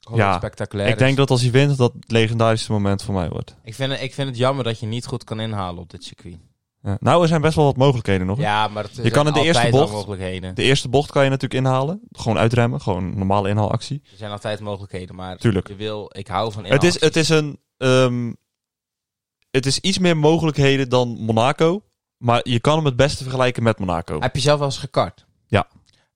Speaker 2: Ik hoop
Speaker 1: Ja,
Speaker 2: dat het spectaculair
Speaker 1: Ik
Speaker 2: is.
Speaker 1: denk dat als hij wint, dat het legendarische moment voor mij wordt.
Speaker 2: ik, vind het, ik vind het jammer dat je niet goed kan inhalen op dit circuit.
Speaker 1: Ja. Nou, er zijn best wel wat mogelijkheden nog. hè?
Speaker 2: Ja, maar het
Speaker 1: Je kan in de eerste
Speaker 2: altijd wel
Speaker 1: bocht-
Speaker 2: mogelijkheden.
Speaker 1: De eerste bocht kan je natuurlijk inhalen. Gewoon uitremmen. Gewoon een normale inhaalactie.
Speaker 2: Er zijn altijd mogelijkheden, maar
Speaker 1: Tuurlijk.
Speaker 2: je wil, ik hou van
Speaker 1: Het is,
Speaker 2: inhaalacties.
Speaker 1: het is een... ehm, het is iets meer mogelijkheden dan Monaco. Maar je kan hem het beste vergelijken met Monaco.
Speaker 2: Heb je zelf wel eens gekart?
Speaker 1: Ja.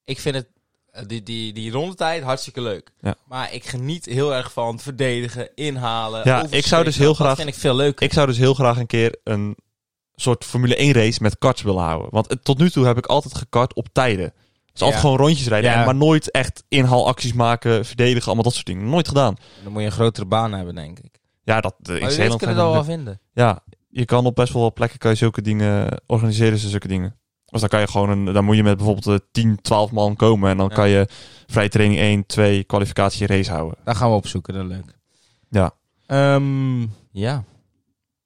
Speaker 2: Ik vind het, eh, die, die, die rondetijd hartstikke leuk.
Speaker 1: Ja.
Speaker 2: Maar ik geniet heel erg van het verdedigen, inhalen.
Speaker 1: Ja, ik zou dus heel
Speaker 2: overschrikken.
Speaker 1: graag-
Speaker 2: Dat vind ik veel leuker.
Speaker 1: Ik zou dus heel graag een keer een soort Formule 1 race met karts willen houden. Want het- tot nu toe heb ik altijd gekart op tijden. Dus altijd
Speaker 2: Ja.
Speaker 1: gewoon rondjes rijden.
Speaker 2: Ja.
Speaker 1: en Maar nooit echt inhaalacties maken, verdedigen, allemaal dat soort dingen. Nooit gedaan.
Speaker 2: Dan moet je een grotere baan hebben, denk ik.
Speaker 1: Ja, dat, eh, in
Speaker 2: Maar jullie
Speaker 1: Zeeland...
Speaker 2: kunnen
Speaker 1: zijn
Speaker 2: dat
Speaker 1: dat
Speaker 2: wel vinden.
Speaker 1: Ja, je kan op best wel wat plekken kan je zulke dingen organiseren, ze zulke dingen. Dus dan kan je gewoon een, dan moet je met bijvoorbeeld eh, 10, 12 man komen en dan
Speaker 2: Ja.
Speaker 1: kan je vrije training 1, 2, kwalificatie race houden.
Speaker 2: Daar gaan we opzoeken, dat is leuk.
Speaker 1: Ja.
Speaker 2: Ehm, ja.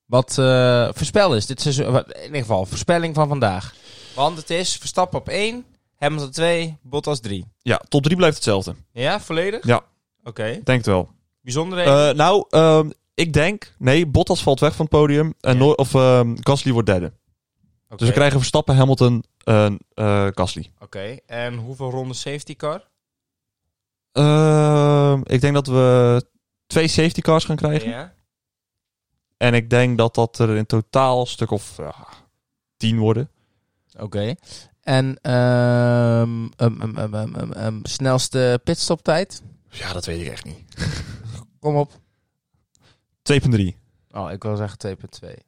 Speaker 2: Wat eh, voorspel is dit seizoen. wat- In ieder geval, voorspelling van vandaag. Want het is Verstappen op 1, Hamilton 2, Bottas 3.
Speaker 1: Ja, top 3 blijft hetzelfde.
Speaker 2: Ja, volledig?
Speaker 1: Ja.
Speaker 2: Oké.
Speaker 1: Denk het wel.
Speaker 2: Bijzonderheden?
Speaker 1: Eh, nou, ehm, ik denk, nee, Bottas valt weg van het podium en
Speaker 2: Ja.
Speaker 1: Noor- of ehm, Gasly wordt derde.
Speaker 2: Oké.
Speaker 1: Dus we krijgen Verstappen, Hamilton en eh, Gasly.
Speaker 2: Oké. En hoeveel ronden safety car?
Speaker 1: Ehm, ik denk dat we twee safety cars gaan krijgen.
Speaker 2: Ja.
Speaker 1: En ik denk dat dat er in totaal een stuk of ja, tien worden.
Speaker 2: Oké. En ehm ehm, ehm, ehm, ehm, ehm, ehm, snelste pitstoptijd?
Speaker 1: Ja, dat weet ik echt niet.
Speaker 2: Kom op.
Speaker 1: 2.3.
Speaker 2: Oh, ik wil zeggen 2.2.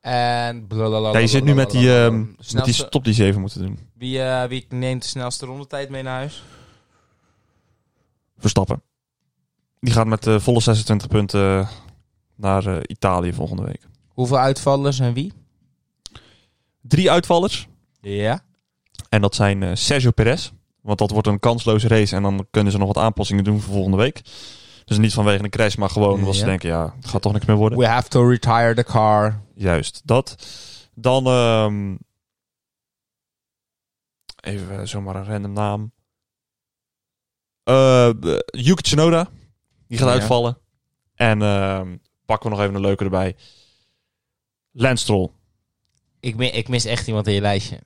Speaker 2: En... blablabla-
Speaker 1: Ja, je zit nu met die, ehm, Met die
Speaker 2: Snelste-
Speaker 1: stop die ze even moeten doen.
Speaker 2: Wie, eh, wie neemt de snelste rondetijd mee naar huis?
Speaker 1: Verstappen. Die gaat met eh, volle 26 punten naar eh, Italië volgende week.
Speaker 2: Hoeveel uitvallers en wie?
Speaker 1: Drie uitvallers.
Speaker 2: Ja.
Speaker 1: En dat zijn eh, Sergio Perez. Want dat wordt een kansloze race. En dan kunnen ze nog wat aanpassingen doen voor volgende week. Dus niet vanwege een crash, maar gewoon omdat ze
Speaker 2: Ja.
Speaker 1: denken... ja, het gaat toch niks meer worden.
Speaker 2: We have to retire the car.
Speaker 1: Juist, dat. Dan ehm, even eh, zomaar een random naam. Eh, de- Yuki Tsunoda, die gaat
Speaker 2: Ja.
Speaker 1: uitvallen. En ehm, pakken we nog even een leuke erbij. Lance Stroll,
Speaker 2: Ik, mi- ik mis echt iemand in je lijstje.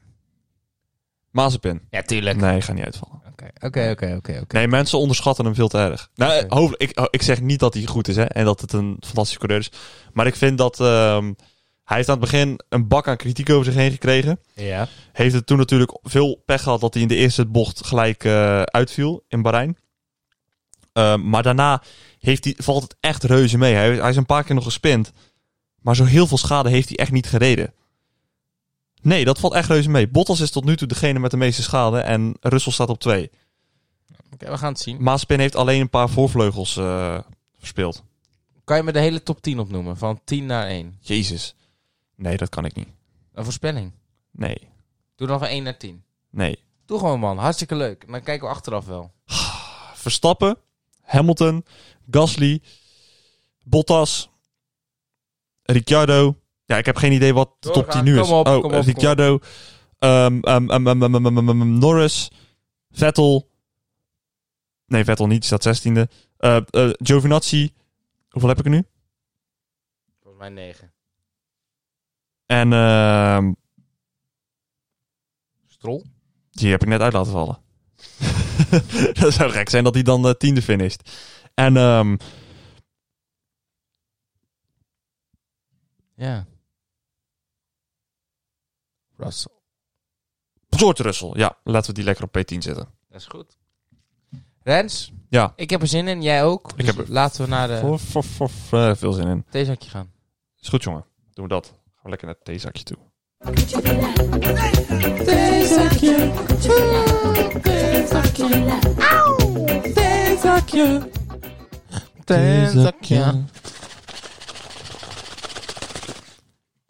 Speaker 1: Mazepin.
Speaker 2: Ja, tuurlijk.
Speaker 1: Nee, gaat niet uitvallen.
Speaker 2: Oké, oké, oké, oké, oké.
Speaker 1: Nee, mensen onderschatten hem veel te erg. Nou,
Speaker 2: Oké.
Speaker 1: eh, hoofd- ik, oh, ik zeg niet dat hij goed is hè, en dat het een fantastische coureur is. Maar ik vind dat ehm, hij heeft aan het begin een bak aan kritiek over zich heen gekregen.
Speaker 2: Ja.
Speaker 1: heeft het toen natuurlijk veel pech gehad dat hij in de eerste bocht gelijk eh, uitviel in Bahrein. Ehm, maar daarna heeft hij, valt het echt reuze mee. Hij, hij is een paar keer nog gespind. Maar zo heel veel schade heeft hij echt niet gereden. Nee, dat valt echt reuze mee. Bottas is tot nu toe degene met de meeste schade. En Russell staat op twee.
Speaker 2: Oké, we gaan het zien.
Speaker 1: Maaspin heeft alleen een paar voorvleugels eh, verspeeld.
Speaker 2: Kan je me de hele top 10 opnoemen? Van 10 naar 1.
Speaker 1: Jezus. Nee, dat kan ik niet.
Speaker 2: Een voorspelling.
Speaker 1: Nee.
Speaker 2: Doe dan van 1 naar 10.
Speaker 1: Nee.
Speaker 2: Doe gewoon, man. Hartstikke leuk. En dan kijken we achteraf wel.
Speaker 1: Verstappen, Hamilton, Gasly, Bottas, Ricciardo. Ja, ik heb geen idee wat de top
Speaker 2: Doorgaan,
Speaker 1: 10 nu is.
Speaker 2: kom op,
Speaker 1: oh,
Speaker 2: kom op,
Speaker 1: Ricciardo, ehm, ehm, ehm, ehm, ehm, ehm, ehm, ehm, Norris, Vettel. Nee, Vettel niet, die staat 16e. Eh eh, Giovinazzi, hoeveel heb ik er nu?
Speaker 2: Volgens mij 9.
Speaker 1: En ehm,
Speaker 2: Strol?
Speaker 1: die heb ik net uit laten vallen. dat zou gek zijn dat hij dan eh, tiende finisht. En ehm,
Speaker 2: Ja. Russell.
Speaker 1: George Russell, ja, laten we die lekker op P10 zetten.
Speaker 2: Dat is goed. Rens,
Speaker 1: Ja.
Speaker 2: ik heb er zin in. Jij ook. Dus
Speaker 1: heb er-
Speaker 2: laten we naar de
Speaker 1: Voor, voor, voor, voor, eh, veel zin in.
Speaker 2: theezakje gaan.
Speaker 1: Is goed, jongen. Doen we dat. Gaan we lekker naar het theezakje toe.
Speaker 3: theezakje. Theezakje. Theezakje.
Speaker 2: Theezakje.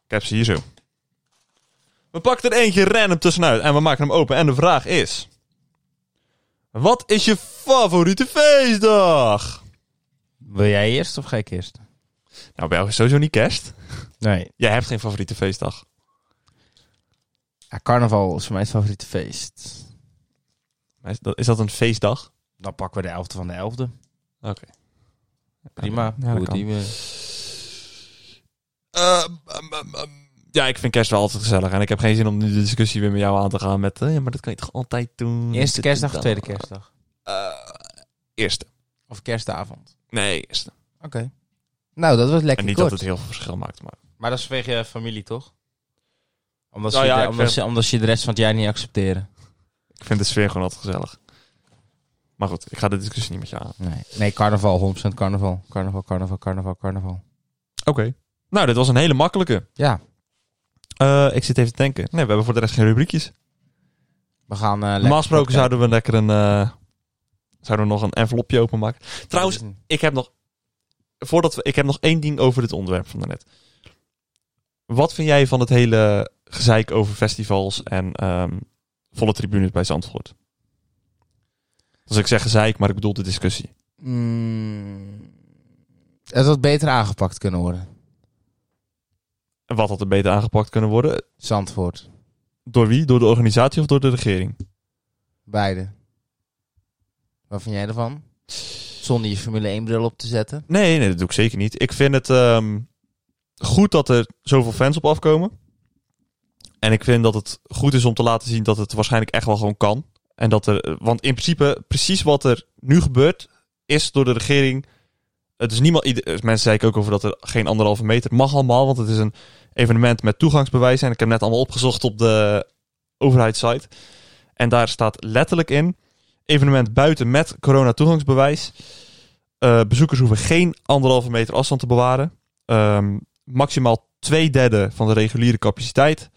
Speaker 1: Ik heb ze hier zo. We pakken er eentje random tussenuit en we maken hem open. En de vraag is... Wat is je favoriete feestdag?
Speaker 2: Wil jij eerst of ga ik eerst?
Speaker 1: Nou, bij jou is sowieso niet kerst.
Speaker 2: Nee.
Speaker 1: Jij hebt geen favoriete feestdag.
Speaker 2: Ja, carnaval is voor mij het favoriete feest.
Speaker 1: Maar Is dat, is dat een feestdag?
Speaker 2: Dan pakken we de 11e van de 11e.
Speaker 1: Oké.
Speaker 2: Prima.
Speaker 1: Ja, dat
Speaker 2: Hoe het
Speaker 1: kan.
Speaker 2: die eh? we-
Speaker 1: Ehm, ehm, ehm, ehm. Ja, ik vind kerst wel altijd gezellig. En ik heb geen zin om nu de discussie weer met jou aan te gaan met... eh, maar dat kan je toch altijd doen?
Speaker 2: Eerste kerstdag of
Speaker 1: Dan-
Speaker 2: tweede kerstdag?
Speaker 1: Eh, eerste.
Speaker 2: Of kerstavond.
Speaker 1: Nee, eerste.
Speaker 2: Oké. Nou, dat was
Speaker 1: En
Speaker 2: lekker
Speaker 1: niet
Speaker 2: kort.
Speaker 1: dat het heel veel verschil maakt, maar...
Speaker 2: Maar dat is vanwege je familie, toch? Omdat,
Speaker 1: Nou
Speaker 2: ze,
Speaker 1: ja,
Speaker 2: de-
Speaker 1: ik
Speaker 2: omdat,
Speaker 1: vind-
Speaker 2: ze, omdat ze de rest van het jaar niet accepteren.
Speaker 1: Ik vind de sfeer gewoon altijd gezellig. Maar goed, ik ga de discussie niet met je aan.
Speaker 2: Nee, nee carnaval, 100% carnaval. Carnaval, carnaval, carnaval, carnaval.
Speaker 1: Oké. Nou, dit was een hele makkelijke.
Speaker 2: Ja,
Speaker 1: Eh, ik zit even te denken. Nee, we hebben voor de rest geen rubriekjes.
Speaker 2: we gaan... eh, lekker
Speaker 1: Normaal gesproken zouden we lekker een... eh, zouden we nog een envelopje openmaken. Trouwens, ik heb nog voordat we, ik heb nog één ding over dit onderwerp van daarnet. Wat vind jij van het hele gezeik over festivals en ehm, volle tribunes bij Zandvoort? Als ik zeg gezeik, maar ik bedoel de discussie.
Speaker 2: Mm, het had beter aangepakt kunnen worden.
Speaker 1: Wat had er beter aangepakt kunnen worden?
Speaker 2: Zandvoort.
Speaker 1: Door wie? Door de organisatie of door de regering?
Speaker 2: Beide. Wat vind jij ervan? Zonder je Formule 1 bril op te zetten.
Speaker 1: Nee, nee, dat doe ik zeker niet. Ik vind het ehm, goed dat er zoveel fans op afkomen. En ik vind dat het goed is om te laten zien dat het waarschijnlijk echt wel gewoon kan. En dat er, eh, want in principe, precies wat er nu gebeurt, is door de regering. Het is niemand. ieder- eh, Mensen zei ik ook over dat er geen anderhalve meter mag allemaal. Want het is een evenement met toegangsbewijs. En ik heb net allemaal opgezocht op de overheidssite. En daar staat letterlijk in: evenement buiten met corona-toegangsbewijs. Eh, bezoekers hoeven geen anderhalve meter afstand te bewaren. Ehm, maximaal twee derde van de reguliere capaciteit.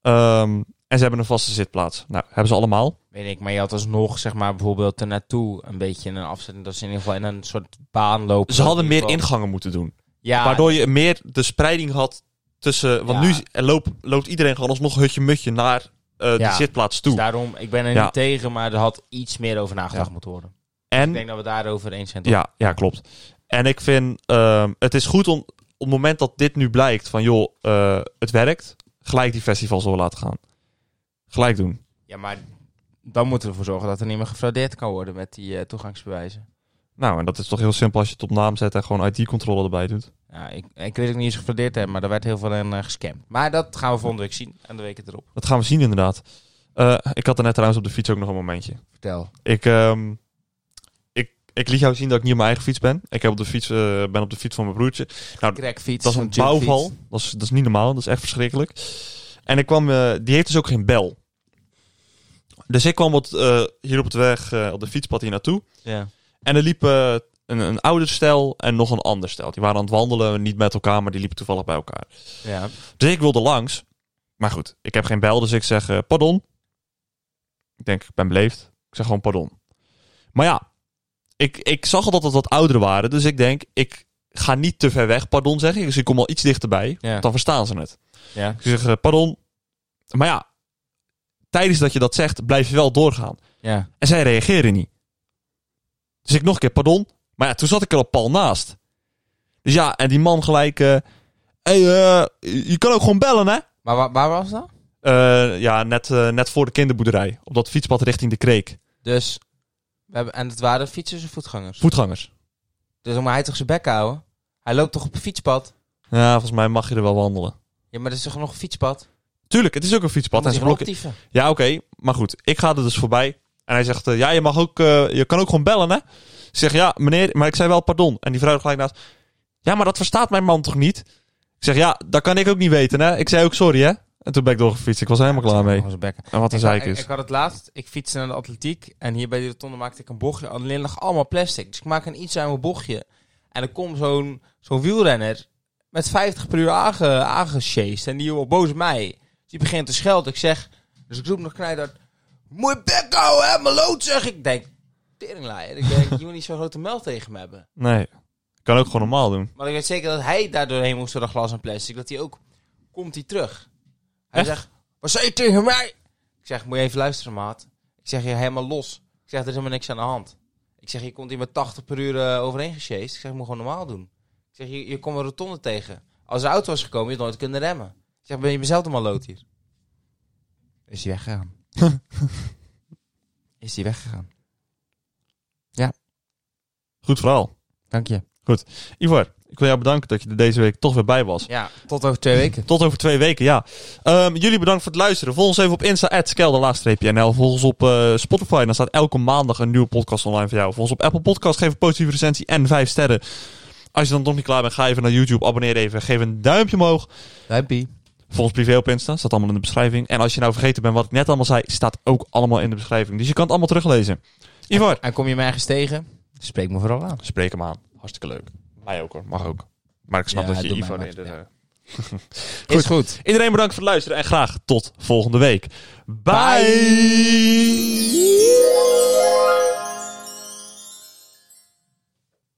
Speaker 1: Ehm, en ze hebben een vaste zitplaats. Nou, hebben ze allemaal.
Speaker 2: Weet ik, maar je had alsnog, zeg maar, bijvoorbeeld ernaartoe een beetje in een afzetting. Dat ze in ieder geval in een soort baan lopen.
Speaker 1: Ze hadden
Speaker 2: In ieder
Speaker 1: meer
Speaker 2: geval.
Speaker 1: ingangen moeten doen.
Speaker 2: Ja,
Speaker 1: Waardoor je meer de spreiding had tussen... Want
Speaker 2: Ja.
Speaker 1: nu er loopt, loopt iedereen gewoon alsnog hutje-mutje naar eh de
Speaker 2: Ja.
Speaker 1: zitplaats
Speaker 2: dus
Speaker 1: toe.
Speaker 2: daarom, ik ben er
Speaker 1: Ja.
Speaker 2: niet tegen, maar er had iets meer over nagedacht
Speaker 1: Ja.
Speaker 2: moeten worden. Ik
Speaker 1: En
Speaker 2: denk dat we daarover eens zijn. toch?
Speaker 1: Ja, ja, klopt. En ik vind, ehm, het is goed om op het moment dat dit nu blijkt van joh, eh, het werkt, gelijk die festivals door laten gaan. Gelijk doen.
Speaker 2: Ja, maar dan moeten we ervoor zorgen dat er niet meer gefraudeerd kan worden met die eh, toegangsbewijzen.
Speaker 1: Nou, en dat is toch heel simpel als je het op naam zet en gewoon ID-controle erbij doet.
Speaker 2: Ja, ik, ik weet ook niet eens gefraudeerd hebben, maar er werd heel veel in eh, gescamd. Maar dat gaan we volgende week zien en de weken erop.
Speaker 1: Dat gaan we zien inderdaad. Eh, ik had er net trouwens op de fiets ook nog een momentje.
Speaker 2: Vertel.
Speaker 1: Ik, ehm, ik, ik liet jou zien dat ik niet op mijn eigen fiets ben. Ik heb op de fiets, eh, ben op de fiets van mijn broertje.
Speaker 2: Crackfiets.
Speaker 1: Dat is een
Speaker 2: zo'n jumpfiets.
Speaker 1: bouwval. Dat is, dat is niet normaal. Dat is echt verschrikkelijk. En ik kwam, eh, die heeft dus ook geen bel. Dus ik kwam wat, eh, hier op het weg, eh, op de fietspad hier naartoe.
Speaker 2: Ja.
Speaker 1: En er liep eh, een, een ouder stel en nog een ander stel. Die waren aan het wandelen, niet met elkaar, maar die liepen toevallig bij elkaar.
Speaker 2: ja.
Speaker 1: Dus ik wilde langs. Maar goed, ik heb geen bel, dus ik zeg eh, pardon. Ik denk, ik ben beleefd. Ik zeg gewoon pardon. Maar ja, ik, ik zag al dat het wat ouderen waren. Dus ik denk, ik ga niet te ver weg pardon zeggen. Dus ik kom al iets dichterbij.
Speaker 2: Ja.
Speaker 1: Dan verstaan ze het.
Speaker 2: Ja.
Speaker 1: Ik zeg eh, pardon. Maar ja, tijdens dat je dat zegt, blijf je wel doorgaan.
Speaker 2: Ja.
Speaker 1: En zij reageren niet. Dus ik nog een keer, pardon. Maar ja, toen zat ik er al pal naast. Dus ja, en die man gelijk... eh hey, eh, je kan ook gewoon bellen, hè?
Speaker 2: Maar wa- waar was dat?
Speaker 1: Eh, ja, net, eh, net voor de kinderboerderij. Op dat fietspad richting de kreek.
Speaker 2: Dus, we hebben, en het waren fietsers en voetgangers.
Speaker 1: Voetgangers.
Speaker 2: Dus om hij toch zijn bek houden? Hij loopt toch op een fietspad?
Speaker 1: Ja, volgens mij mag je er wel wandelen.
Speaker 2: Ja, maar dat is toch nog een fietspad?
Speaker 1: Tuurlijk, het is ook een fietspad. En
Speaker 2: is
Speaker 1: ze blokken- Ja, oké. Maar goed, ik ga er dus voorbij. En hij zegt, eh, ja, je mag ook, eh, je kan ook gewoon bellen, hè? Ik zeg, ja, meneer, maar ik zei wel pardon. En die vrouw er gelijk naast, ja, maar dat verstaat mijn man toch niet? Ik zeg, ja, dat kan ik ook niet weten, hè? Ik zei ook sorry, hè? En toen ben ik doorgefietst. Ik was er helemaal klaar mee. En wat een
Speaker 2: Ik,
Speaker 1: zeik
Speaker 2: ik,
Speaker 1: is.
Speaker 2: ik had het laatst, ik fietste naar de atletiek en hier bij die rotonde maakte ik een bochtje. Alleen lag allemaal plastic, dus ik maak een iets mijn bochtje. En er komt zo'n zo'n wielrenner met 50 per uur aange, aangesjeest en die wordt boos op mij. Dus die begint te schelden. Ik zeg, dus ik roep nog knijder, moet je bek houden hè, maloot zeg ik. Ik denk, teringlaaier, ik denk, je moet niet zo'n grote meld tegen me hebben.
Speaker 1: Nee, ik kan ook gewoon normaal doen.
Speaker 2: Maar ik weet zeker dat hij daar doorheen moest door dat glas en plastic. Dat hij ook, komt hij terug. Hij
Speaker 1: Echt?
Speaker 2: zegt, wat zei je tegen mij? Ik zeg, moet je even luisteren maat. Ik zeg, je helemaal los. Ik zeg, er is helemaal niks aan de hand. Ik zeg, je komt hier met 80 per uur eh, overheen gesjeest. Ik zeg, je moet gewoon normaal doen. Ik zeg, je, je komt een rotonde tegen. Als de auto was gekomen, je had nooit kunnen remmen. Ik zeg, ben je mezelf allemaal lood hier? Is hij weggegaan. is hij weggegaan.
Speaker 1: Goed verhaal.
Speaker 2: Dank je.
Speaker 1: Ivor, ik wil jou bedanken dat je er deze week toch weer bij was.
Speaker 2: Ja, tot over twee weken.
Speaker 1: Tot over twee weken, ja. Ehm, jullie bedankt voor het luisteren. Volg ons even op Insta, at skelderlaagstreepje.nl. Volg ons op eh, Spotify. Dan staat elke maandag een nieuwe podcast online voor jou. Volg ons op Apple Podcast. Geef een positieve recensie en vijf sterren. Als je dan nog niet klaar bent, ga even naar YouTube. Abonneer even. Geef een duimpje omhoog.
Speaker 2: Duimpie.
Speaker 1: Volg ons privé op Insta. Staat allemaal in de beschrijving. En als je nou vergeten bent wat ik net allemaal zei, staat ook allemaal in de beschrijving. Dus je kan het allemaal teruglezen. Ivar,
Speaker 2: En kom je mij ergens tegen? Spreek me vooral aan.
Speaker 1: spreek hem aan. Hartstikke leuk. Mij ook hoor. Mag ook. Maar ik snap
Speaker 2: Ja,
Speaker 1: dat je
Speaker 2: doe mij
Speaker 1: Ivar... eh, in
Speaker 2: maar.
Speaker 1: de-
Speaker 2: Ja.
Speaker 1: Goed.
Speaker 2: Is goed.
Speaker 1: Iedereen bedankt voor het luisteren en graag tot volgende week. Bye!
Speaker 2: Bye.